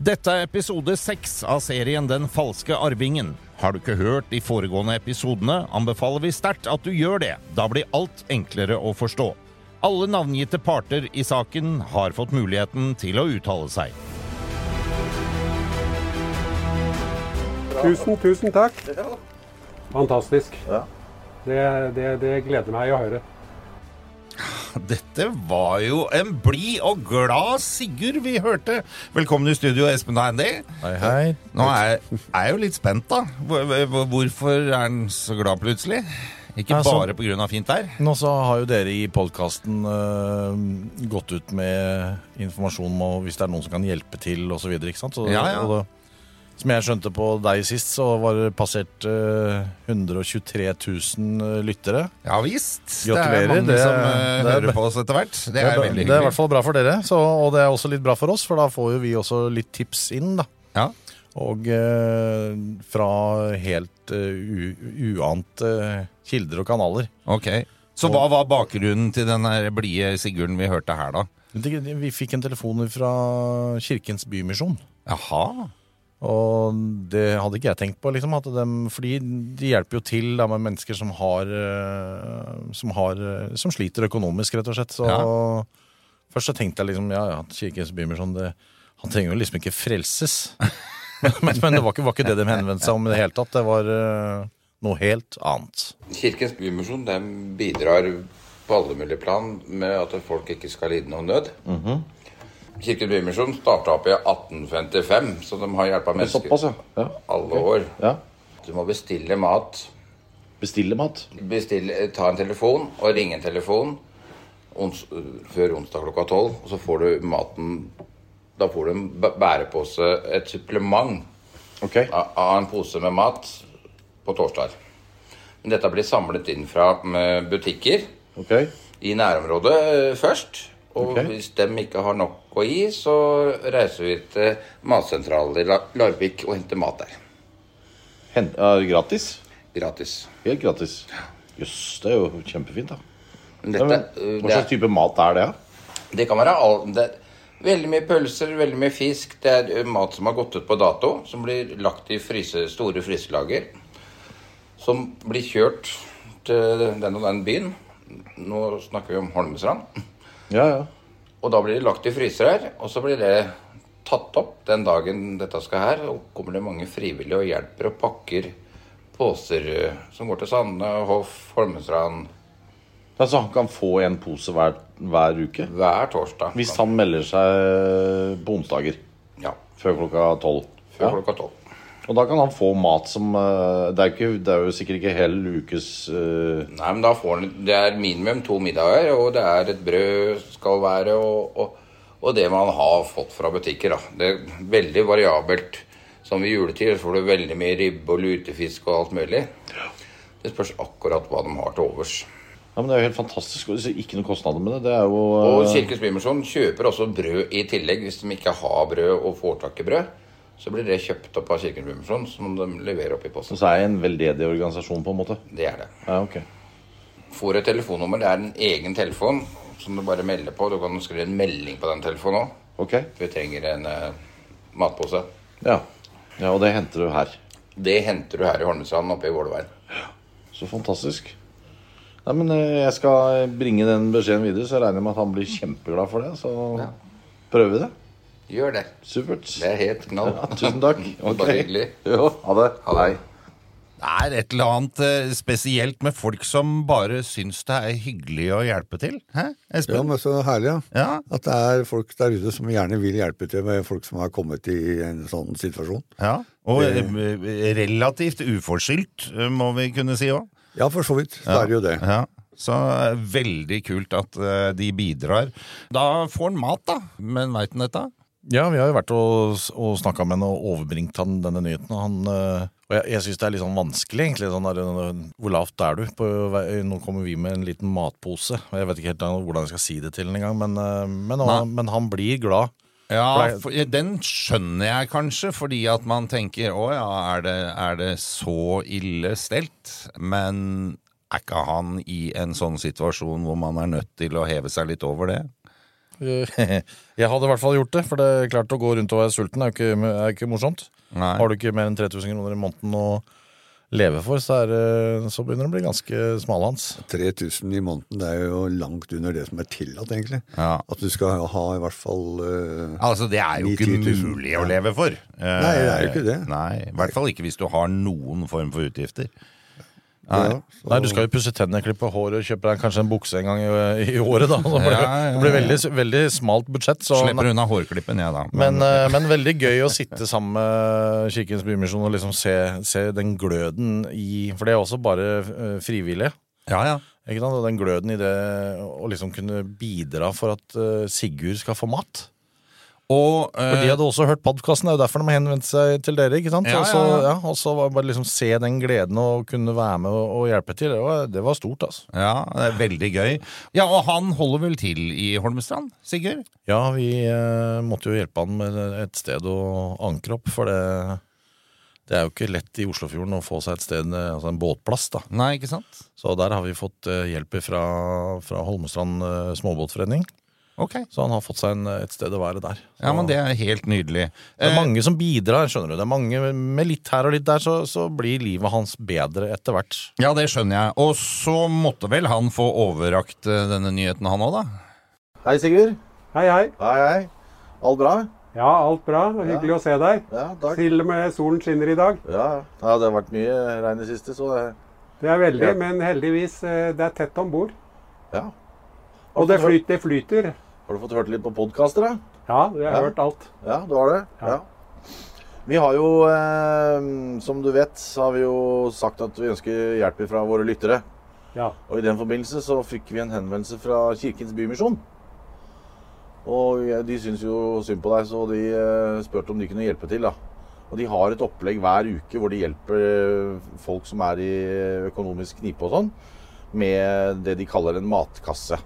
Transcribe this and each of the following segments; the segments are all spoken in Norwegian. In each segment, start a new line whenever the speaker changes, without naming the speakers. Dette er episode seks av serien Den falske arvingen. Har du ikke hørt de foregående episodene, anbefaler vi sterkt at du gjør det. Da blir alt enklere å forstå. Alle navngitte parter i saken har fått muligheten til å uttale seg.
Tusen, tusen takk.
Ja.
Fantastisk.
Ja.
Det, det, det gleder meg å høre.
Dette var jo en blid og glad Sigurd vi hørte. Velkommen i studio, Espen og Andy.
Hei, hei.
Nå er er jeg jo litt spent, da. Hvor- hvor- Hvorfor er han så glad plutselig? Ikke
Altså-
bare pga. fint vær.
Nå så har jo dere i podkasten eh, gått ut med informasjon om og hvis det er noen som kan hjelpe til osv. Så videre, ikke sant? så,
Ja, ja.
og da- som jeg skjønte på deg sist, så var det passert eh, 123 000 eh, lyttere.
Ja visst. Det er
Gratulerer,
mange
det er-
som eh,
det er-
hører på oss etter hvert. Det, er
bra-
veldig
det er i hvert
hyggelig.
fall bra for dere, så, og det er også litt bra for oss, for da får jo vi også litt tips inn. da.
Ja.
Og eh, fra helt eh, u, uante kilder og kanaler.
Ok. Så hva var bakgrunnen til den her blide Sigurden vi hørte her, da?
Men det- Vi fikk en telefon fra Kirkens Bymisjon.
Jaha.
Og det hadde ikke jeg tenkt på, liksom, at dem, fordi de hjelper jo til da, med mennesker som har, eh, som har eh, Som sliter økonomisk, rett og slett. Så først så tenkte jeg liksom ja, ja, Kirkens Bymisjon det- Han trenger jo liksom ikke frelses. men, men det var ikke, var ikke det de henvendte seg om i det hele tatt. Det var eh, noe helt annet.
Kirkens Bymisjon de bidrar på alle mulige plan med at folk ikke skal lide noen nød.
Mhm.
Kirkens Bymisjon starta opp i 1855, så de har hjelpa mennesker alle år. Du må bestille mat.
Bestille mat.
Bestille, ta en telefon og ringe en telefon ons, før onsdag klokka tolv, og så får du maten Da får du en bæ- bærepose, et supplement
Ok.
av- av en pose med mat på torsdag. Men dette blir samlet inn fra mm, butikker
ok.
i nærområdet eh, først. Og
Ok.
hvis de ikke har nok å gi, så reiser vi til matsentralen i La- Larvik og henter mat der.
Hent, er det gratis?
Gratis.
Helt gratis. Jøss, det er jo kjempefint, da. Ja,
Men Dette,
men,
eh,
hva slags
det,
type mat er det? da?
er- det kan være all, det er veldig mye pølser, veldig mye fisk. Det er eh, mat som har gått ut på dato, som blir lagt i fryse, store fryselager. Som blir kjørt til den og den byen. Nå snakker vi om Holmestrand.
Ja, ja.
Og da blir det lagt i fryser her, og så blir det tatt opp den dagen dette skal her. Og kommer det mange frivillige og hjelper og pakker poser eh, som går til Sande, Hoff, Holmestrand
Altså, han kan få en pose hver, hver uke?
hver torsdag.
Hvis han melder seg eh, på onsdager
Ja.
før klokka tolv.
Før
Ja.
klokka tolv.
Og da kan han få mat som eh, Det er, jo ikke, det er jo sikkert ikke hel ukes eh,
Nei, men da får han Det er minimum to middager, og det er et brød skal være, og, og, og det man har fått fra butikker, da. Det er veldig variabelt. Som ved juletid så får du veldig mye ribbe og lutefisk og alt mulig. Det spørs akkurat hva de har til overs.
Ja, men Det er jo helt fantastisk. og det er Ikke noen kostnader med det. Det er jo
Og
eh,
Kirkens Bymisjon kjøper også brød i tillegg. Hvis de ikke har brød og får tak i brød, så blir det kjøpt opp av Kirkens Bymisjon, som de leverer opp i posten.
Så er jeg en veldedig organisasjon, på en måte.
Det er det.
Ja, ok.
Får et telefonnummer. Det er en egen telefon som du bare melder på. Du kan skrive en melding på den telefonen òg.
Ok.
Vi trenger en eh, matpose.
Ja. ja, og det henter du her.
Det henter du her i Holmestrand oppe i Vålerveien.
Så fantastisk. Nei, men eh, Jeg skal bringe den beskjeden videre, så jeg regner med at han blir kjempeglad for det. Så prøver vi det.
Gjør det.
Supert.
Det er helt knall.
Ja, tusen takk.
Bare
Ok.
hyggelig.
Jo, ha det.
Ha det.
Det er et eller annet eh, spesielt med folk som bare syns det er hyggelig å hjelpe til. Hæ,
Ja,
Espen?
men så herlig, ja.
Ja.
At det er folk der ute som gjerne vil hjelpe til med folk som har kommet i en sånn situasjon.
ja. Og eh, relativt uforskyldt, eh, må vi kunne si òg.
Ja, for så vidt. Så er det jo det.
Ja. Så eh, veldig kult at eh, de bidrar. Da får han mat, da. Men veit han dette?
Ja, vi har jo vært og, og snakka med henne og overbringt han denne nyheten. Og, han, øh, og jeg, jeg syns det er litt sånn vanskelig, egentlig. Sånn der, øh, hvor lavt er du? På, vei- nå kommer vi med en liten matpose. Og jeg vet ikke helt eh, hvordan jeg skal si det til henne engang, men, øh, men,
Nei.
han- men han blir glad.
Ja,
For
for, den skjønner jeg kanskje, fordi at man tenker å ja, er det, er det så ille stelt? Men er ikke han i en sånn situasjon hvor man er nødt til å heve seg litt over det?
jeg hadde i hvert fall gjort det, for det er klart å gå rundt og være sulten er jo ikke, er jo ikke morsomt.
Nei.
Har du ikke mer enn 3000 kroner i måneden å leve for, så, er, det- så begynner det å bli ganske smalhans.
3000 i måneden, det er jo langt under det som er tillatt, egentlig.
Ja.
At du skal ha i hvert fall eh,
Altså, det er jo ikke
9-10 000,
mulig å leve for. Eh,
Nei, det er jo ikke det.
Nei, I hvert fall ikke hvis du har noen form for utgifter.
ja, så-
Nei, du skal jo pusse tennene, klippe håret og kjøpe deg kanskje en bukse en gang i, i året, da. Det blir,
Ja, ja,
det blir veldig, veldig smalt budsjett. Så,
Slipper unna hårklippen, jeg, da.
men, eh, men veldig gøy å sitte sammen med Kirkens Bymisjon og liksom se, se den gløden i For det er også bare eh, frivillige.
ja, ja.
Ikke sant? Og den gløden i det å liksom kunne bidra for at eh, Sigurd skal få mat.
Og
For
eh,
de hadde også hørt podkasten, det er jo derfor de har henvendt seg til dere. ikke sant?
Ja,
Og så-
ja, ja.
ja, Og så var- bare liksom se den gleden og kunne være med og, og hjelpe til. Det var, det var stort, altså.
ja, det er veldig gøy. Ja, og han holder vel til i Holmestrand, Sigurd?
Ja, vi eh, måtte jo hjelpe han med et sted å ankre opp, for det, det er jo ikke lett i Oslofjorden å få seg et sted, eh, altså en båtplass, da.
Nei, ikke sant?
Så der har vi fått eh, hjelp fra, fra Holmestrand eh, småbåtforening.
Ok.
Så han har fått seg en, et sted å være der. Så,
Ja, men det er helt nydelig.
det er mange som bidrar, skjønner du. Det er mange Med litt her og litt der, så, så blir livet hans bedre etter hvert.
Eh, Ja, det skjønner jeg. Og så måtte vel han få overrakt eh, denne nyheten, han òg, da?
Hei, Sigurd.
Hei, hei.
Hei, hei. Alt bra?
Ja, alt bra. Hyggelig å se deg.
Ja,
Til og med solen skinner i dag.
Ja, ja, det har vært mye regn i det siste, så eh, det
Det er veldig,
Ja.
men heldigvis eh, det er tett om bord.
ja.
Og det, flyt, det flyter.
Har du fått hørt litt på podkaster, da?
Ja, jeg har
Ja.
hørt alt.
Ja, du har det?
Ja.
Ja. Vi har jo, eh, som du vet, så har vi jo sagt at vi ønsker hjelp fra våre lyttere.
Ja.
Og i den forbindelse så fikk vi en henvendelse fra Kirkens Bymisjon. Og jeg- de syns jo synd på deg, så de eh, spurte om de kunne hjelpe til, da. Og de har et opplegg hver uke hvor de hjelper eh, folk som er i eh, økonomisk knipe og sånn, med det de kaller en matkasse.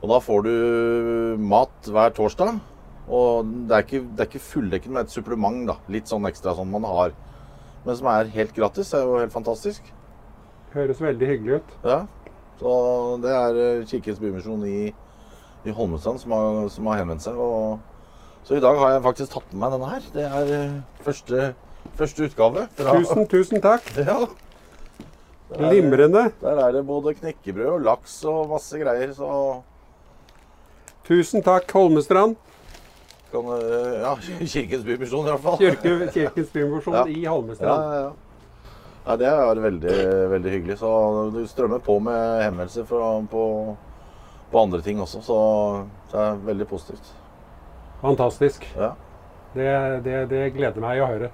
Og da får du eh, mat hver torsdag. Og det er ikke, det er ikke fulldekkende, men et supplement. da, Litt sånn ekstra sånn man har. Men som er helt gratis. er jo helt fantastisk.
Høres veldig hyggelig ut.
Ja. Så det er eh, Kirkens Bymisjon i, i Holmestrand som har, som har henvendt seg. Og, så i dag har jeg faktisk tatt med meg denne her. Det er eh, første, første utgave. Fra,
Tusen, tusen takk.
Ja. Der er, det-
Glimrende.
der er det både knekkebrød og laks og masse greier. Så
Tusen takk, Holmestrand.
kan eh, Ja, Kirkens Bymisjon i hvert fall.
Kirke, kirkens Bymisjon
Ja.
i
Ja,
Holmestrand.
ja, ja. Ja, det er veldig, veldig hyggelig. Så du strømmer på med henvendelser fra, på, på andre ting også. Så det er veldig positivt.
Fantastisk.
Ja.
Det, det, det gleder meg å høre.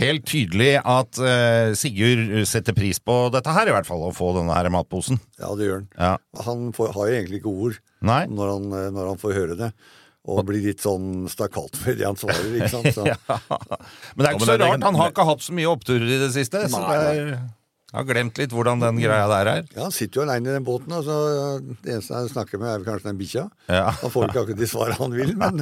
Helt tydelig at eh, Sigurd setter pris på dette her, i hvert fall, å få denne her matposen.
Ja, det gjør han.
Ja.
Han får, har jo egentlig ikke ord
Nei?
når han, eh, når han får høre det. Og blir litt sånn stakkat med det han svarer, ikke sant. Så,
Men det er
Ja,
ikke
men
så
det er-
rart. Han har ikke hatt så mye oppturer i det siste. Så det er, jeg har glemt litt hvordan den greia der er.
ja, han sitter jo aleine i den båten, og så eh, det eneste han snakker med, er vel kanskje den bikkja.
Ja.
Han får ikke akkurat de svarene han vil, men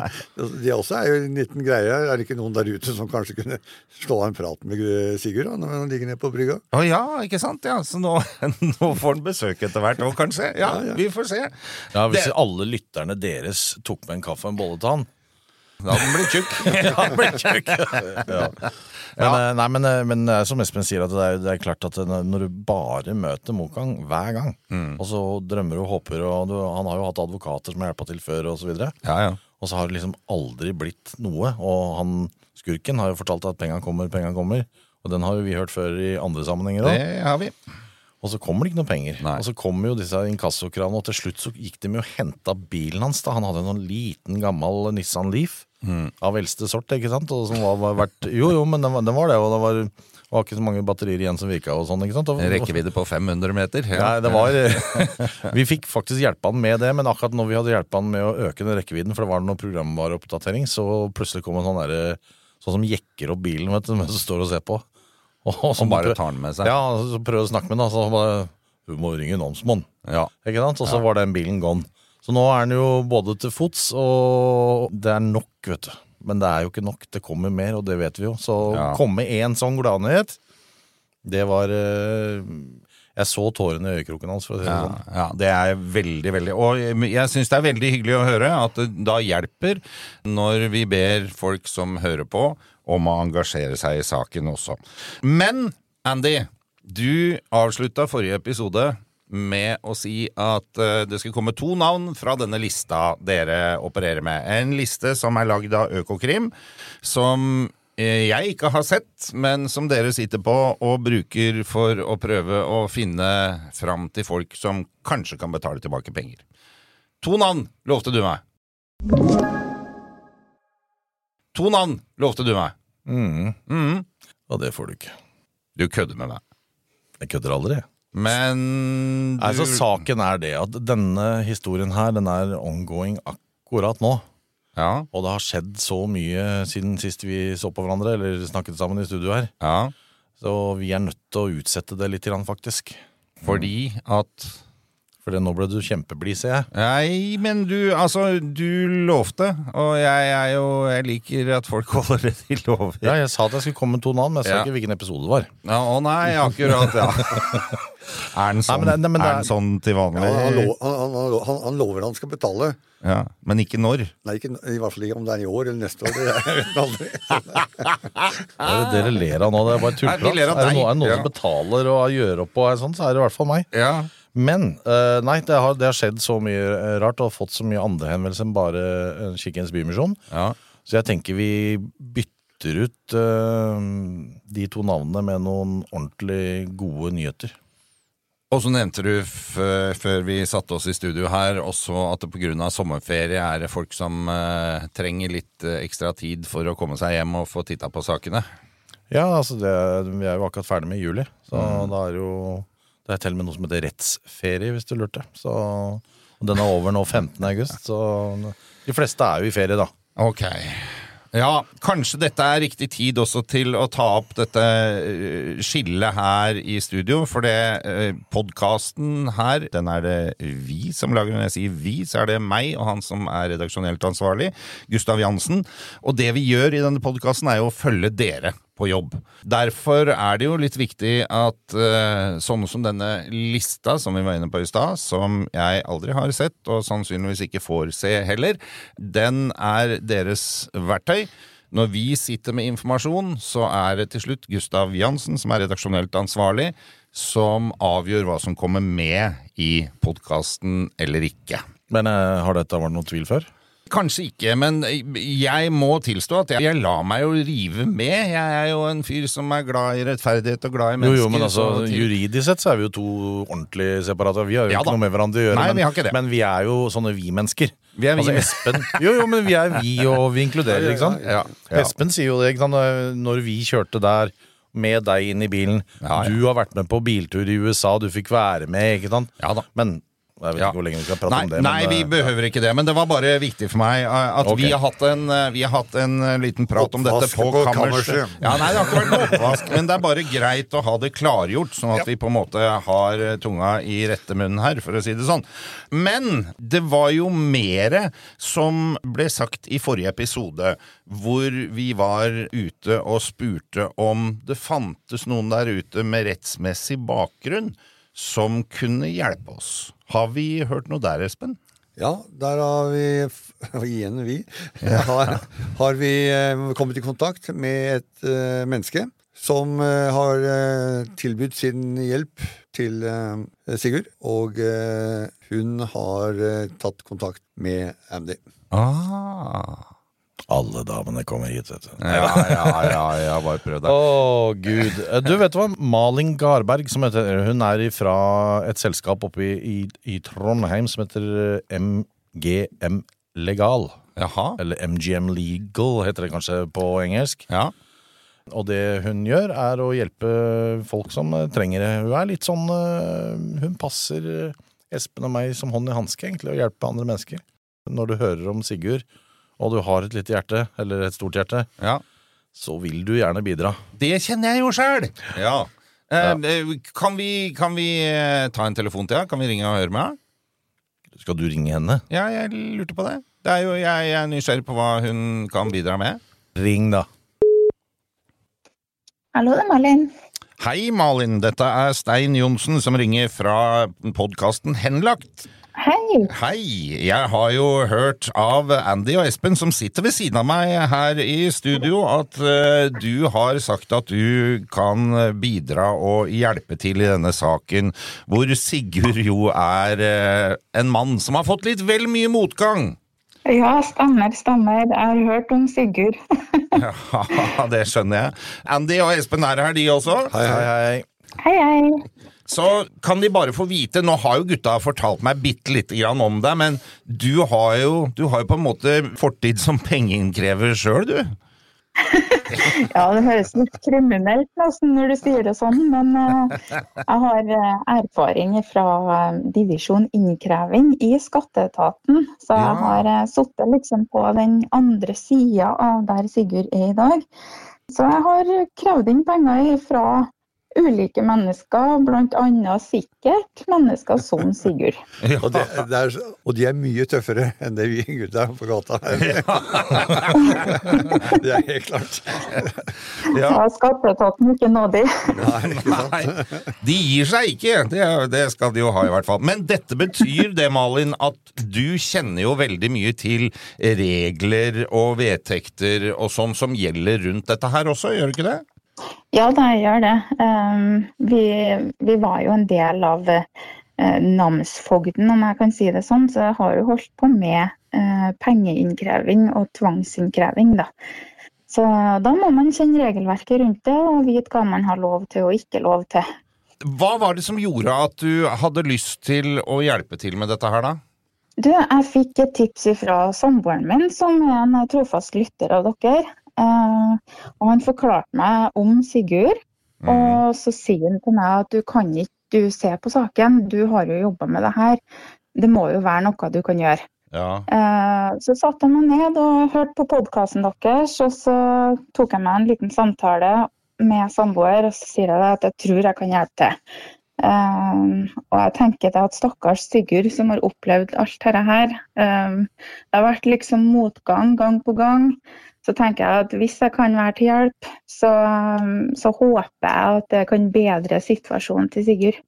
det også er jo en liten greie. Er det ikke noen der ute som kanskje kunne slå av en prat med eh, Sigurd da, når han ligger nede på brygga?
Å ja, ikke sant? Ja, så nå, nå får han besøk etter hvert òg, kanskje. Ja, vi får se.
Ja, Hvis
Det-
alle lytterne deres tok med en kaffe og en bolle til han
Da hadde han blitt tjukk.
Men, eh, nei, men, eh, men eh, som Espen sier, at det er, det er klart at eh, når du bare møter Mokang hver gang,
Mm.
og så drømmer og håper og du, Han har jo hatt advokater som har hjulpet til før, og så videre.
Ja, ja.
Og så har det liksom aldri blitt noe. Og han skurken har jo fortalt at penga kommer, penga kommer. Og den har jo vi hørt før i andre sammenhenger
Det
òg.
har vi.
Og så kommer det ikke noe penger.
Nei.
Og så kommer jo disse inkassokravene, og til slutt så gikk de med og henta bilen hans. da Han hadde en sånn liten, gammel Nissan Leaf. Av eldste sort, ikke sant? Og som var, var verdt, jo, jo, men den, var- den var det, og det var, var ikke så mange batterier igjen som virka og sånn, ikke sant? Og,
Rekkevidde på 500 meter.
Nei, det var Vi fikk faktisk hjelpe han med det, men akkurat når vi hadde hjulpet han med å øke den rekkevidden, for det var noe programvareoppdatering, så plutselig kom en sånn derre Sånn som jekker opp bilen vet du, mens du står og ser på. Og, så
bare
prøv-
tar den med seg.
Ja, så prøver å snakke med han, og så bare Du må ringe namsmann.
Ja.
Ikke sant? Og så var den bilen gone. Så nå er den jo både til fots, og det er nok, vet du. Men det er jo ikke nok. Det kommer mer, og det vet vi jo. Så
Ja.
komme én sånn gladnyhet, det var eh, Jeg så tårene i øyekroken hans. For å si det
Ja,
sånn.
ja, det er veldig, veldig Og jeg syns det er veldig hyggelig å høre at det da hjelper når vi ber folk som hører på, om å engasjere seg i saken også. Men Andy, du avslutta forrige episode med å si at eh, det skulle komme to navn fra denne lista dere opererer med. En liste som er lagd av Økokrim, som eh, jeg ikke har sett, men som dere sitter på og bruker for å prøve å finne fram til folk som kanskje kan betale tilbake penger. To navn lovte du meg. To navn lovte du meg.
Mm.
Mhm.
Og det får du ikke.
Du kødder med meg.
Jeg kødder aldri.
Men du,
Altså, saken er det at denne historien her, den er ongoing akkurat nå.
ja,
Og det har skjedd så mye siden sist vi så på hverandre, eller snakket sammen i studio her.
ja,
Så vi er nødt til å utsette det litt, grann, faktisk.
fordi at
For det- nå ble du kjempeblid, ser jeg.
Nei, men du, altså, du lovte, og jeg er jo Jeg liker at folk holder det de lover.
Ja, jeg sa at jeg skulle komme med to navn, men jeg sa
Ja.
ikke hvilken episode det var.
Ja, å nei, akkurat, ja. er den sånn,
Nei, men det- nei, men det
er
er-
den sånn til
Ja,
vanlig?
han, lo- han, han, han, lo- han- han lover han skal betale.
Ja, men ikke når.
Nei, ikke, I hvert fall ikke om det er i år eller neste år. Det er aldri.
Hva er det dere ler av nå? Det er bare
Ah. Nei, vi
tullprat.
ler av
Er det
deg.
noen, er det noen
Ja.
som betaler og gjør opp og er sånn, så er det i hvert fall meg.
Ja.
Men eh, nei, det har, det har skjedd så mye eh, rart og fått så mye andre henvendelser enn bare eh, Kirkens Bymisjon.
ja.
Så jeg tenker vi bytter ut eh, de to navnene med noen ordentlig gode nyheter.
Og så nevnte du f før vi satte oss i studio her også at det pga. sommerferie er det folk som eh, trenger litt eh, ekstra tid for å komme seg hjem og få titta på sakene.
Ja, altså det, vi er jo akkurat ferdig med juli, så da er jo Det er til og med noe som heter rettsferie, hvis du lurte. Så, og den er over nå 15. august, så de fleste er jo i ferie, da.
Ok. Ja, kanskje dette er riktig tid også til å ta opp dette eh, skillet her i studio, for det podkasten her, den er det vi som lager. Når jeg sier vi, så er det meg og han som er redaksjonelt ansvarlig, Gustav Jansen. Og det vi gjør i denne podkasten, er jo å følge dere på jobb. Derfor er det jo litt viktig at eh, sånne som denne lista som vi var inne på i stad, som jeg aldri har sett, og sannsynligvis ikke får se heller, den er deres verktøy. Når vi sitter med informasjon, så er det til slutt Gustav Jansen, som er redaksjonelt ansvarlig, som avgjør hva som kommer med i podkasten eller ikke.
Men eh, har dette vært noen tvil før?
Kanskje ikke, men jeg må tilstå at jeg, jeg lar meg jo rive med. Jeg er jo en fyr som er glad i rettferdighet og glad i
Jo,
mennesker.
jo, men altså,
så-
Juridisk sett så er vi jo to ordentlig separate. Vi har jo
Ja da.
ikke noe med hverandre å gjøre,
Nei,
men,
vi har ikke det.
men vi er jo sånne vi-mennesker.
Vi er vi-
altså, Espen, jo, jo, men vi er vi, og vi inkluderer, ikke sant?
ja, ja.
Espen sier jo det, ikke sant? Når vi kjørte der med deg inn i bilen
Ja, ja.
Du har vært med på biltur i USA, du fikk være med, ikke sant?
Ja da.
Men jeg vet
Ja.
ikke hvor lenge vi skal prate
nei,
om det.
nei,
men,
vi
eh,
behøver ikke det, men det var bare viktig for meg eh, at
Ok.
vi, har hatt en, eh, vi har hatt en eh, liten prat om dette
Oppvask
på
på
kammerset.
kammerset.
Ja, nei, det har ikke vært noe oppvask, men det er bare greit å ha det klargjort, sånn at vi på en måte har eh, tunga i rette munnen her, for å si det sånn. Men det var jo mere som ble sagt i forrige episode, hvor vi var ute og spurte om det fantes noen der ute med rettsmessig bakgrunn som kunne hjelpe oss. Har vi hørt noe der, Espen?
Ja, der har vi og Igjen vi. Har, har vi eh, kommet i kontakt med et eh, menneske som eh, har eh, tilbudt sin hjelp til eh, Sigurd. Og eh, hun har eh, tatt kontakt med Andy.
Ah.
eh, Alle damene kommer hit, vet du.
Ja, ja, ja, ja, bare prøv
Å,
deg.
gud. Eh, Du vet hva? Malin Garberg, som heter, hun er fra et selskap oppe i, i, i Trondheim som heter eh, MGM Legal.
Jaha.
Eller MGM Legal, heter det kanskje på engelsk.
Ja.
Og det hun gjør, er å hjelpe folk som eh, trenger det. Hun er litt sånn eh, Hun passer eh, Espen og meg som hånd i hanske, egentlig, å hjelpe andre mennesker. Når du hører om Sigurd, og du har et lite hjerte, eller et stort hjerte,
ja.
så vil du gjerne bidra.
Det kjenner jeg jo sjøl! Ja. Eh, eh, Kan, vi, kan vi eh, ta en telefon til henne? Kan vi ringe og høre med henne?
Skal du ringe henne?
Ja, jeg lurte på det. det er jo, jeg, jeg er nysgjerrig på hva hun kan bidra med.
Ring, da.
Hallo, det er Malin.
Hei, Malin. Dette er Stein Johnsen som ringer fra podkasten Henlagt.
Hei.
Hei. Jeg har jo hørt av Andy og Espen, som sitter ved siden av meg her i studio, at eh, du har sagt at du kan bidra og hjelpe til i denne saken, hvor Sigurd jo er eh, en mann som har fått litt vel mye motgang.
Ja, stemmer, stemmer. Jeg har hørt om Sigurd.
Ja, det skjønner jeg. Andy og Espen er her, de også.
Hei, hei, hei.
Hei, hei.
Så kan de bare få vite, nå har jo gutta fortalt meg bitte lite grann om deg, men du har jo, du har jo på en måte fortid som pengeinnkrever sjøl, du.
Ja, det høres litt kriminelt nesten når du sier det sånn, men eh, jeg har eh, erfaring fra eh, divisjon innkreving i skatteetaten, så
Ja.
jeg har eh, sittet liksom på den andre sida av der Sigurd er i dag. Så jeg har krevd inn penger fra ulike mennesker, bl.a. sikkert mennesker som Sigurd.
Og, det, det er, og de er mye tøffere enn det vi gutta på gata er. det er helt klart.
Så skatteetaten ikke nådig.
Nei, ikke sant?
Nei, de gir seg ikke. Det, er- det skal de jo ha, i hvert fall. Men dette betyr det, Malin, at du kjenner jo veldig mye til regler og vedtekter og sånn som gjelder rundt dette her også, gjør du ikke det?
Ja, da, jeg gjør det. Ehm, vi, vi var jo en del av eh, namsfogden, om jeg kan si det sånn, så jeg har jo holdt på med eh, pengeinnkreving og tvangsinnkreving, da. Så da må man kjenne regelverket rundt det, og vite hva man har lov til og ikke lov til.
Hva var det som gjorde at du hadde lyst til å hjelpe til med dette her, da?
Du, jeg fikk et tips fra samboeren min, som er en eh, trofast lytter av dere. Eh, og han forklarte meg om Sigurd, og så sier han til meg at du kan ikke du se på saken, du har jo jobba med det her. Det må jo være noe du kan gjøre.
Ja.
Eh, Så satte jeg meg ned og hørte på podkasten deres, og så tok jeg meg en liten samtale med samboer, og så sier jeg det at jeg tror jeg kan hjelpe til. Eh, og jeg tenker det at stakkars Sigurd som har opplevd alt dette her, eh, det har vært liksom motgang gang på gang, så tenker jeg at hvis jeg kan være til hjelp, så, så håper jeg at det kan bedre situasjonen til Sigurd.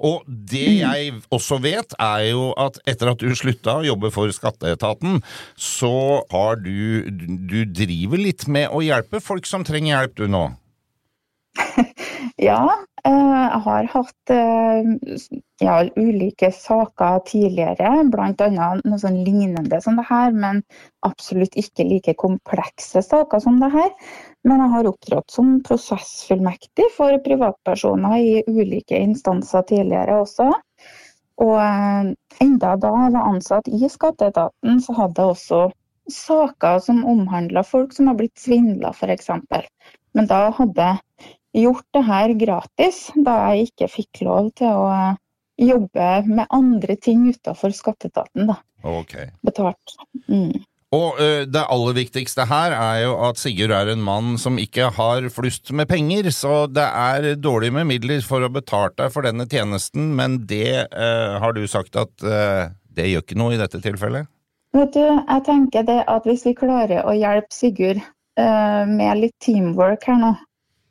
Og det jeg også vet, er jo at etter at du slutta å jobbe for skatteetaten, så har du Du driver litt med å hjelpe folk som trenger hjelp, du nå.
Ja, eh, jeg har hatt eh, s- ja, ulike saker tidligere, bl.a. noe sånn lignende som det her, men absolutt ikke like komplekse saker som det her. Men jeg har opptrådt som prosessfullmektig for privatpersoner i ulike instanser tidligere også. Og eh, enda da jeg var ansatt i skatteetaten, så hadde jeg også saker som omhandla folk som har blitt svindla, f.eks. Men da hadde jeg gjort det her gratis, da jeg ikke fikk lov til å eh, jobbe med andre ting utenfor skatteetaten, da.
Ok.
Betalt. Mm.
Og ø, det aller viktigste her er jo at Sigurd er en mann som ikke har flust med penger, så det er dårlig med midler for å betale deg for denne tjenesten, men det ø, har du sagt at ø, det gjør ikke noe i dette tilfellet?
Vet du, jeg tenker det at hvis vi klarer å hjelpe Sigurd eh, med litt teamwork her nå,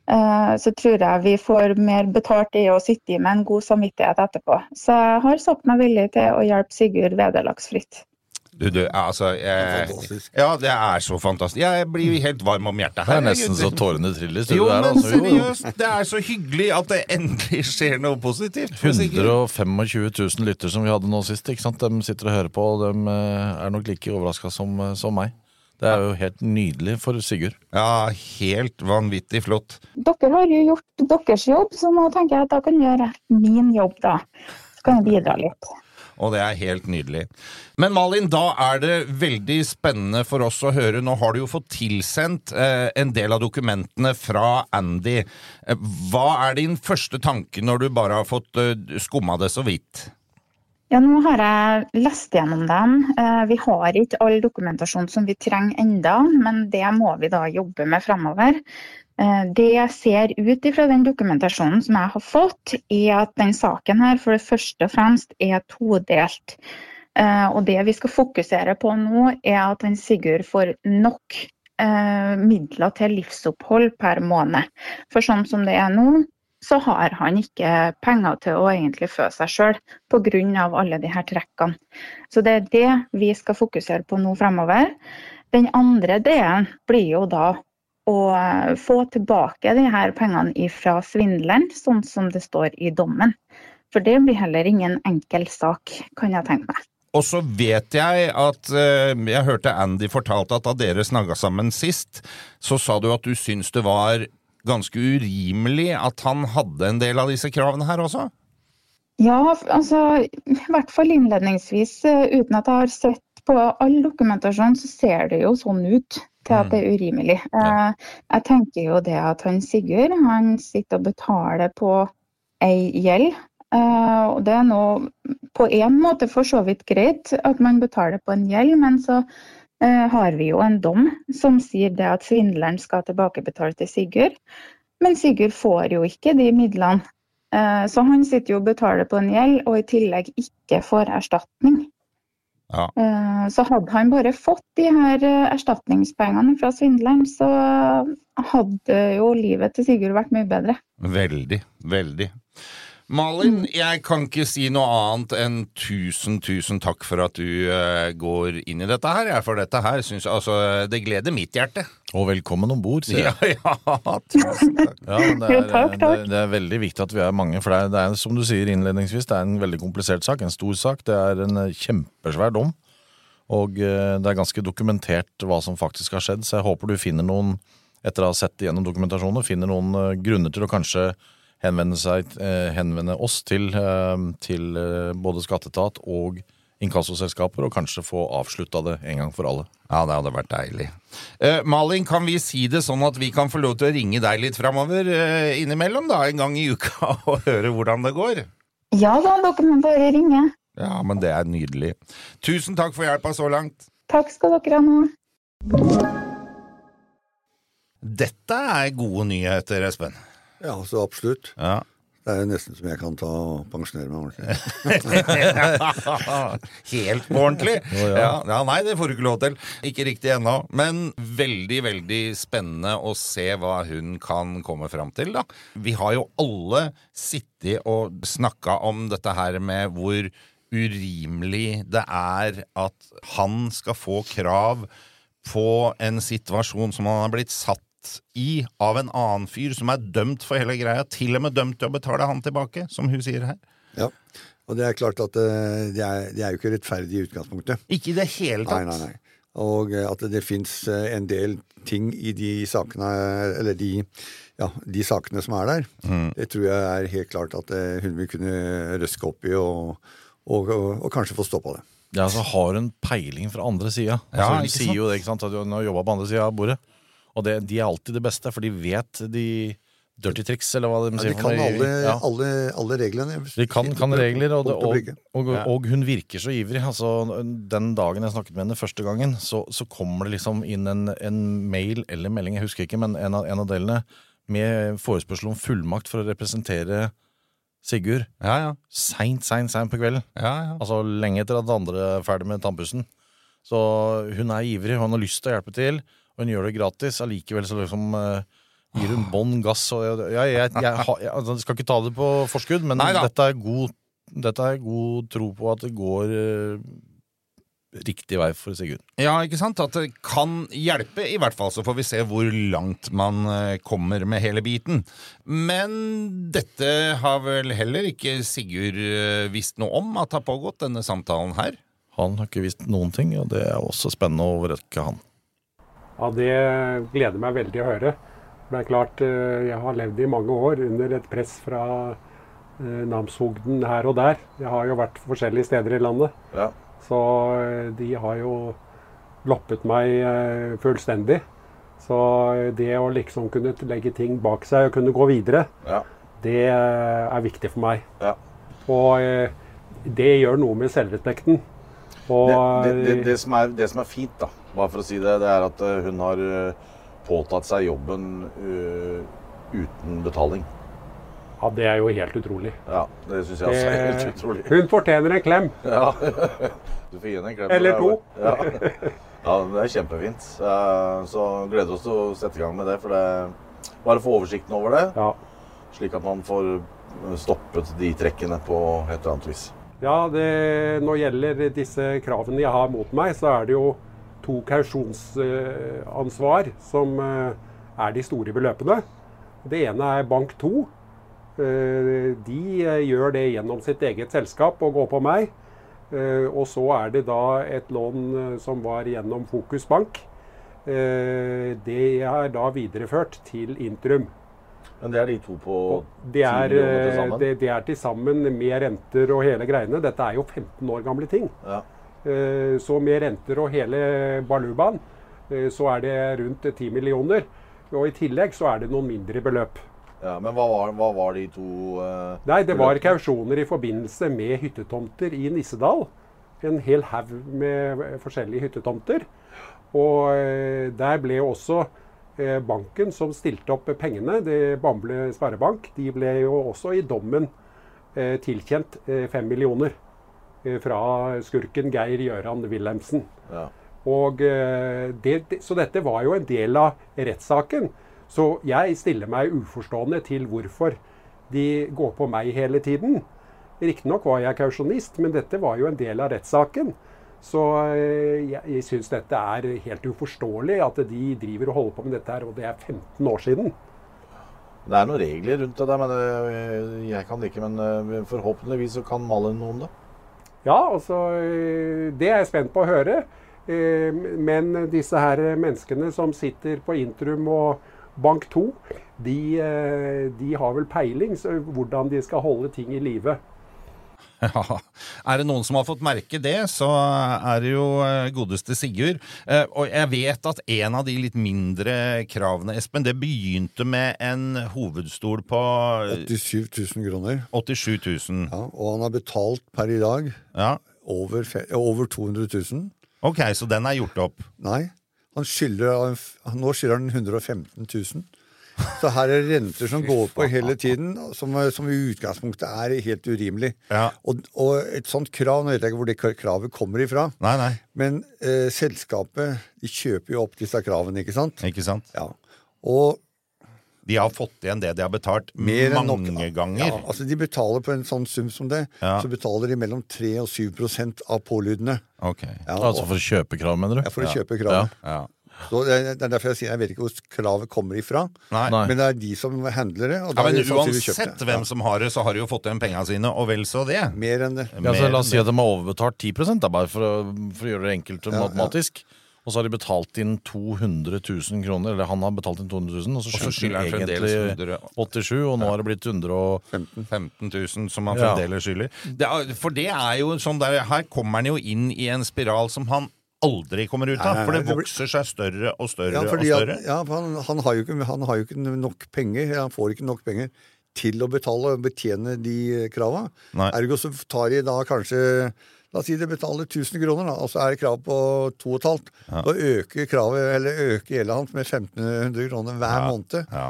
eh, så tror jeg vi får mer betalt i å sitte i med en god samvittighet etterpå. Så jeg har sagt meg villig til å hjelpe Sigurd vederlagsfritt.
Du, du, altså jeg,
Fantastisk.
Ja, det er så fantastisk. Jeg blir helt varm om hjertet
Det
her.
er nesten så tårene triller. i
Jo,
studio her,
men
altså. Jo, jo.
seriøst, det er så hyggelig at det endelig skjer noe positivt. for Sigurd.
125 000 lytter som vi hadde nå sist, ikke sant? de sitter og hører på, og de eh, er nok like overraska som, eh, som meg. Det er jo helt nydelig for Sigurd.
Ja, helt vanvittig flott.
Dere har jo gjort deres jobb, så nå tenker jeg at da kan jeg gjøre min jobb, da. Så kan jeg bidra litt.
Og det er helt nydelig. Men Malin, da er det veldig spennende for oss å høre. Nå har du jo fått tilsendt eh, en del av dokumentene fra Andy. Eh, Hva er din første tanke når du bare har fått eh, skumma det så vidt?
Ja, nå har jeg lest gjennom dem. Eh, Vi har ikke all dokumentasjon som vi trenger enda, men det må vi da jobbe med framover. Eh, Det jeg ser ut fra den dokumentasjonen som jeg har fått, er at den saken her for det første og fremst er todelt. Eh, Og det vi skal fokusere på nå, er at den Sigurd får nok eh, midler til livsopphold per måned. For sånn som det er nå, så har han ikke penger til å egentlig fø seg sjøl pga. alle de her trekkene. Så det er det vi skal fokusere på nå fremover. Den andre delen blir jo da å eh, få tilbake de her pengene fra svindleren, sånn som det står i dommen. For det blir heller ingen enkel sak, kan jeg tenke meg.
Og så vet jeg at eh, Jeg hørte Andy fortalte at da dere snakka sammen sist, så sa du at du syns det var ganske urimelig at han hadde en del av disse kravene her også?
Ja, altså i hvert fall innledningsvis. eh, Uten at jeg har sett på all dokumentasjon, så ser det jo sånn ut til at det er urimelig. Eh, Jeg tenker jo det at han Sigurd, han sitter og betaler på ei gjeld. Eh, Og det er nå på en måte for så vidt greit at man betaler på en gjeld, men så eh, har vi jo en dom som sier det at svindleren skal tilbakebetale til Sigurd. Men Sigurd får jo ikke de midlene. Eh, Så han sitter jo og betaler på en gjeld, og i tillegg ikke får erstatning.
Ja.
Eh, Så hadde han bare fått de her eh, erstatningspengene fra svindleren, så hadde jo livet til Sigurd vært mye bedre.
Veldig, veldig. Malin, jeg kan ikke si noe annet enn tusen, tusen takk for at du eh, går inn i dette her. Jeg, for dette her syns jeg altså Det gleder mitt hjerte.
Og velkommen om bord, sier jeg.
Ja, ja, tusen takk.
Ja, men det,
Jo,
er,
takk,
det,
takk.
det er veldig viktig at vi er mange, for det er, det er som du sier innledningsvis, det er en veldig komplisert sak, en stor sak. Det er en eh, kjempesvær dom, og eh, det er ganske dokumentert hva som faktisk har skjedd. Så jeg håper du finner noen, etter å ha sett igjennom dokumentasjonen, finner noen eh, grunner til å kanskje henvende, seg, eh, henvende oss til, eh, til eh, både skatteetat og inkassoselskaper, og kanskje få avslutta det en gang for alle.
Ja, det hadde vært deilig. Eh, Malin, kan vi si det sånn at vi kan få lov til å ringe deg litt framover eh, innimellom, da, en gang i uka, og høre hvordan det går?
Ja da, dere må bare ringe.
Ja, men det er nydelig. Tusen takk for hjelpa så langt.
Takk skal dere ha nå.
Dette er gode nyheter, Espen.
Ja, så absolutt.
Ja.
Det er jo nesten som jeg kan ta og pensjonere meg ordentlig.
Helt på ordentlig? ja. ja, Nei, det får du ikke lov til. Ikke riktig ennå. Men veldig, veldig spennende å se hva hun kan komme fram til, da. Vi har jo alle sittet og snakka om dette her med hvor urimelig det er at han skal få krav på en situasjon som han er blitt satt i av en annen fyr som er dømt for hele greia, til og med dømt til å betale han tilbake, som hun sier her.
Ja. Og det er klart at eh, det er, det er jo ikke rettferdig i utgangspunktet.
Ikke i det hele
Nei,
tatt.
nei, nei. Og eh, at det fins en del ting i de sakene Eller de, ja, de sakene som er der. Det tror jeg er helt klart at eh, hun vil kunne røske opp i og, og, og, og kanskje få stoppa det.
Ja, så har hun peiling fra andre sida.
Ja,
Altså, hun
ikke sant?
sier jo det, ikke sant, at hun har jobba på andre sida av bordet. Og det, de er alltid det beste, for de vet de dirty tricks, eller hva de
Ja,
sier.
de
for
kan
noe.
alle,
Ja.
alle, alle reglene.
De kan, kan regler, og, det,
Punkt og
og,
prikke.
og, og hun virker så ivrig. Altså, den dagen jeg snakket med henne første gangen, så, så kommer det liksom inn en, en mail eller melding, jeg husker ikke, men en av, en av delene, med forespørsel om fullmakt for å representere Sigurd
Ja, ja.
seint, seint, seint på kvelden.
Ja, ja.
Altså lenge etter at andre er ferdig med tannpussen. Så hun er ivrig, hun har lyst til å hjelpe til, og hun gjør det gratis. Allikevel så liksom eh, gir hun bånn gass. Og jeg, jeg, jeg, jeg, har- jeg, altså, skal ikke ta det på forskudd, men
Neida.
dette er, god, dette er god tro på at det går eh, riktig vei for Sigurd.
ja, ikke sant? At det kan hjelpe, i hvert fall. Så får vi se hvor langt man eh, kommer med hele biten. Men dette har vel heller ikke Sigurd eh, visst noe om at har pågått, denne samtalen her.
Han har ikke visst noen ting, og det er også spennende å overrekke han.
Ja, det gleder meg veldig å høre. For det er klart, eh, jeg har levd i mange år under et press fra eh, namsfogden her og der. Jeg har jo vært forskjellige steder i landet.
Ja.
Så eh, de har jo loppet meg eh, fullstendig. Så det å liksom kunne legge ting bak seg og kunne gå videre,
Ja.
det eh, er viktig for meg.
Ja.
Og eh, det gjør noe med selvrespekten. Og
Det, det, det, det, som er, det som er fint, da, bare for å si det, det er at eh, hun har eh, påtatt seg jobben eh, uten betaling.
ja, det er jo helt utrolig.
Ja, det syns jeg altså er
Eh.
helt utrolig.
Hun fortjener en klem.
Ja. Du får gi henne en klem. Det
Eller
er
to.
jo- Ja. ja, det er kjempefint. Eh, Så gleder oss til å sette i gang med det. For det bare få oversikten over det,
Ja.
slik at man får eh, stoppet de trekkene på et eller annet vis.
Ja, det, når gjelder disse kravene jeg har mot meg, så er det jo to kausjonsansvar som eh, er de store beløpene. Det ene er Bank 2. Eh, De eh, gjør det gjennom sitt eget selskap og går på meg. Eh, Og så er det da et lån eh, som var gjennom Fokus Bank. Eh, Det er da videreført til Intrum.
Men det er de to på
Det
10 millioner
er,
til
eh,
sammen?
det, det er til sammen med renter og hele greiene. Dette er jo 15 år gamle ting.
Ja.
Eh, Så med renter og hele balubaen, eh, så er det rundt 10 millioner. Og i tillegg så er det noen mindre beløp.
Ja, men hva var, hva var de to eh,
Nei, det var
beløpene?
kausjoner i forbindelse med hyttetomter i Nissedal. En hel haug med forskjellige hyttetomter. Og eh, der ble jo også eh, banken som stilte opp pengene, det Bamble Sparebank, de ble jo også i dommen eh, tilkjent eh, fem millioner eh, fra skurken Geir Gjøran Wilhelmsen.
Ja.
Og, eh, det, det- så dette var jo en del av rettssaken. Så jeg stiller meg uforstående til hvorfor de går på meg hele tiden. Riktignok var jeg kausjonist, men dette var jo en del av rettssaken. Så eh, jeg, jeg syns dette er helt uforståelig at de driver og holder på med dette her, og det er 15 år siden.
Det er noen regler rundt det der, men eh, jeg kan det ikke. Men eh, forhåpentligvis så kan Malin noe om det.
Ja, altså eh, Det er jeg spent på å høre. Eh, Men disse her menneskene som sitter på Intrum og Bank 2, de, eh, de har vel peiling så hvordan de skal holde ting i live.
Ja. Er det noen som har fått merke det, så er det jo eh, godeste Sigurd. Eh, Og jeg vet at en av de litt mindre kravene, Espen, det begynte med en hovedstol på eh,
87 000 kroner.
87 000.
Ja, og han har betalt per i dag
Ja.
over, fe- eh, over 200 000.
Ok, så den er gjort opp.
Nei, han skylder, han f- nå skylder han 115 000. Så her er renter som går på hele tiden, som, som i utgangspunktet er helt urimelig.
Ja.
Og, og et sånt krav, nå vet jeg ikke hvor det k- kravet kommer ifra,
Nei, nei.
men eh, selskapet de kjøper jo opp disse kravene, ikke sant?
Ikke sant?
Ja. Og
De har fått igjen det de har betalt
mer enn nok.
mange ganger.
Ja, altså de betaler på en sånn sum som det,
Ja.
så betaler de mellom 3 og 7 prosent av pålydene.
Ok.
Ja,
Altså
og-
for kjøpekrav, mener
ja,
du?
for å kjøpe kravet.
Ja.
Så det er det er derfor jeg sier jeg vet ikke hvor kravet kommer ifra.
Nei.
Nei.
Men det er de som handler det. Og
Ja,
da
men
er sånn det sannsynligvis
uansett
kjøpt det.
hvem som har det, så har de jo fått igjen penga sine, og vel så det.
Ja, mer enn det.
Ja, så
Mer
la oss
enn
si at de har overbetalt 10 da, bare for å, for å gjøre det enkelt og
Ja, ja.
matematisk. Og så har de betalt inn 200 000 kroner, eller han har betalt inn 200 000, og så
Og så
skylder
skylder
han
han fremdeles
egentlig
100
87, og nå har det blitt 100 og
15 000 som han
Ja.
fremdeles skylder. Det er, for det er jo sånn der, her kommer han jo inn i en spiral som han aldri kommer ut av,
Nei, nei,
for det
nei, det blir-
vokser seg større og større
Ja, fordi
og
at,
større.
ja, for han, han, har jo ikke, han har jo ikke nok penger, eller han får ikke nok penger til å betale og betjene de eh, krava.
Nei.
Ergo så tar de da kanskje La oss si de betaler 1000 kroner, da, og så er det krav på 2500. Da øker kravet, eller øker gjelda hans med 1500 kroner hver måned,
Ja.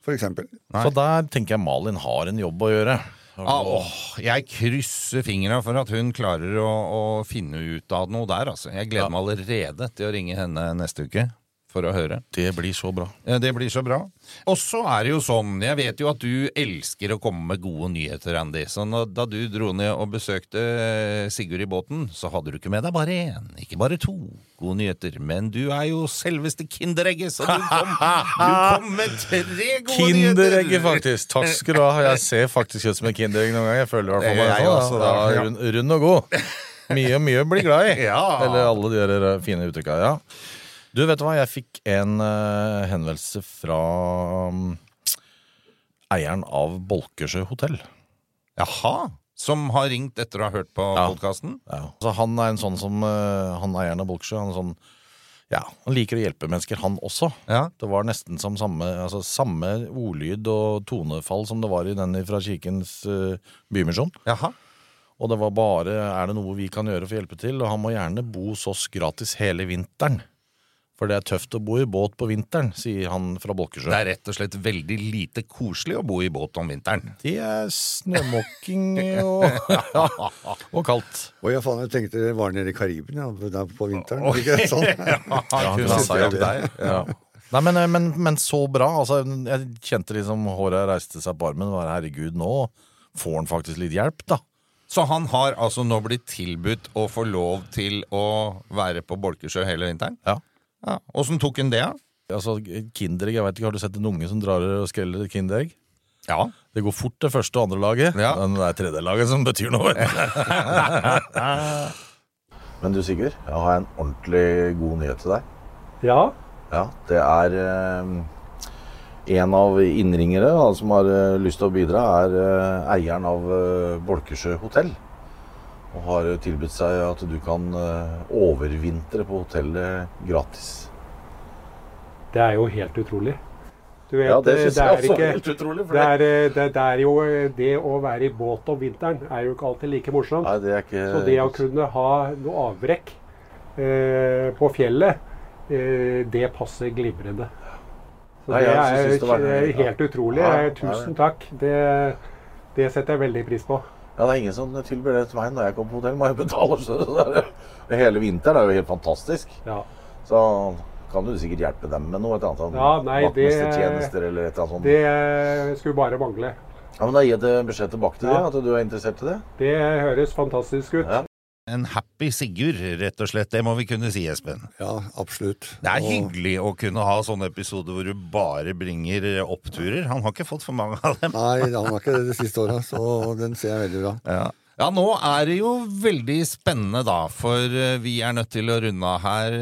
for eksempel.
Så der tenker jeg Malin har en jobb å gjøre.
Ah, åh, jeg krysser fingra for at hun klarer å, å finne ut av noe der, altså. Jeg gleder meg allerede til å ringe henne neste uke for å høre.
Det blir så bra.
Ja, Eh, Det blir så bra. Og så er det jo sånn, jeg vet jo at du elsker å komme med gode nyheter, Andy. Så når, da du dro ned og besøkte eh, Sigurd i båten, så hadde du ikke med deg bare én, ikke bare to gode nyheter. Men du er jo selveste Kinderegget, så du kom, du kom med tre gode nyheter!
Kinderegget, faktisk! Takk skal du ha. Jeg ser faktisk ut som en Kinderegg noen ganger. Jeg føler det i hvert fall
Det gjør
meg
jeg også,
sånn. da.
da.
Ja, rund, rund og god. Mye mye å bli glad i.
Ja.
Eller alle de der eh, fine uttrykka. Ja. Du, vet du hva? Jeg fikk en eh, henvendelse fra mm, eieren av Bolkesjø hotell.
Jaha! Som har ringt etter å ha hørt på
Ja.
podkasten?
Ja. Så han er en sånn som eh, Han eieren av Bolksjø. Han er sånn ja, han liker å hjelpe mennesker, han også.
Ja.
Det var nesten som samme, altså, samme ordlyd og tonefall som det var i den fra Kirkens eh, Bymisjon.
Jaha.
Og det var bare 'er det noe vi kan gjøre for å hjelpe til', og han må gjerne bo hos oss gratis hele vinteren. For det er tøft å bo i båt på vinteren, sier han fra Bolkesjø.
Det er rett og slett veldig lite koselig å bo i båt om vinteren.
Det er snømåking og, og kaldt.
Å ja, faen, jeg tenkte det var nede i Karibien ja, der på vinteren. Ikke sånn?
Ja,
kunne
kunne
ha
si
sagt
det.
deg.
Ja. Nei, men, eh, men, men så bra. Altså, jeg kjente liksom håret reiste seg på armen. Var, Herregud, nå får han faktisk litt hjelp, da.
Så han har altså nå blitt tilbudt å få lov til å være på Bolkesjø hele vinteren?
Ja.
Ja. Åssen tok han det, da?
Altså, Kinderegg, jeg vet ikke, Har du sett en unge som drar og skreller et Kinderegg?
Ja.
Det går fort det første og andre laget,
Ja.
men det er tredje laget som betyr noe.
Men du, Sigurd, jeg har en ordentlig god nyhet til deg.
Ja,
Ja, det er eh, en av innringere da, som har eh, lyst til å bidra, er eh, eieren av eh, Bolkesjø hotell. Og har eh, tilbudt seg at du kan eh, overvintre på hotellet gratis.
det er jo helt utrolig. Du vet,
Ja, det syns jeg
er
også
ikke-
er helt utrolig. For
Det
det
er, eh, det, det er jo eh, det å være i båt om vinteren er jo ikke alltid like morsomt.
Nei, det er ikke
Så det å kunne ha noe avbrekk eh, på fjellet, eh, det passer glimrende. Så
Nei,
det
jeg
er
synes det var-
eh, helt utrolig.
Ja,
Eh, Tusen takk. Det, det setter jeg veldig pris på.
Ja, det er ingen som tilbyr det til meg når jeg kommer på hotell. Må jeg betale selv. Så det er- Hele vinteren er jo helt fantastisk.
Ja.
Så kan du sikkert hjelpe dem med noe. Et eller annet, sånn
Ja, nei, det-
Vaktmestertjenester eller et eller annet sånn- sånt.
Det eh, skulle bare mangle.
Ja, men Da gir jeg det beskjed tilbake til
Ja.
det, at du er interessert i det.
Det høres fantastisk ut.
Ja.
En happy Sigurd, rett og slett. Det må vi kunne si, Espen.
Ja, absolutt.
Det er
Og-
hyggelig å kunne ha sånne episoder hvor du bare bringer oppturer. Han har ikke fått for mange av dem.
Nei, han har ikke det det siste året, så den ser jeg veldig bra.
Ja. ja, nå er det jo veldig spennende, da, for eh, vi er nødt til å runde av her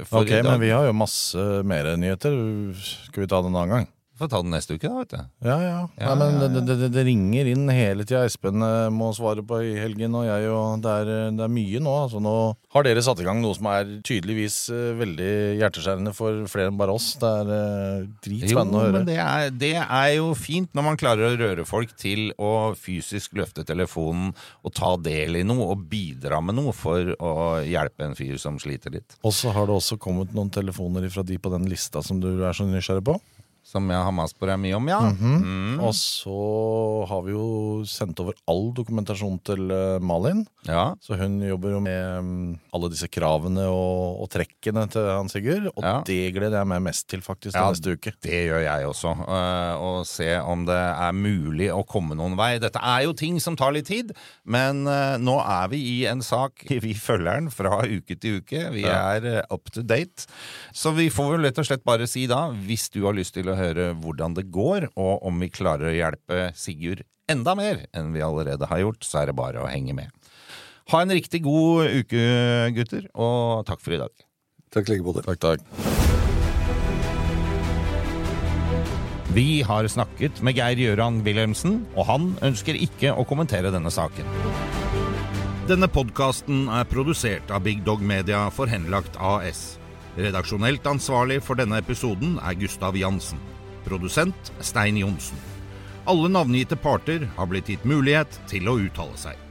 eh, for
ok,
i dag.
men vi har jo masse mer nyheter. Skal vi ta det en annen gang?
Får ta den neste uke, da, vet du.
Ja, ja. Nei, men det- Det, det, det ringer inn hele tida. Espen eh, må svare på i helgen, og jeg og det er, eh, det er mye nå. Altså, nå har dere satt i gang noe som er tydeligvis eh, veldig hjerteskjærende for flere enn bare oss. Det er eh,
Jo,
dritspennende å høre.
men det er, det er jo fint når man klarer å røre folk til å fysisk løfte telefonen og ta del i noe og bidra med noe for å hjelpe en fyr som sliter litt.
Og så har det også kommet noen telefoner fra de på den lista som du er så nysgjerrig på.
Som jeg har mast på deg mye om, ja.
Mhm. Og så har vi jo sendt over all dokumentasjon til eh, Malin.
ja.
Så hun jobber jo med mm, alle disse kravene og, og trekkene til han Sigurd. Og
Ja.
det gleder jeg meg mest til faktisk
Ja.
til neste uke.
Det gjør jeg også. eh, Og se om det er mulig å komme noen vei. Dette er jo ting som tar litt tid, men eh, nå er vi i en sak. Vi følger den fra uke til uke. Vi er eh, up to date. Så vi får vel rett og slett bare si da, hvis du har lyst til å høre hvordan det går, og om vi klarer å hjelpe Sigurd enda mer enn vi allerede har gjort, så er det bare å henge med. Ha en riktig god uke, gutter, og takk for i dag.
Takk like både.
Takk, takk.
Vi har snakket med Geir Gjøran Wilhelmsen, og han ønsker ikke å kommentere denne saken. Denne podkasten er produsert av Big Dog Media for Henlagt AS. Redaksjonelt ansvarlig for denne episoden er Gustav Jansen. Produsent Stein Johnsen. Alle navngitte parter har blitt gitt mulighet til å uttale seg.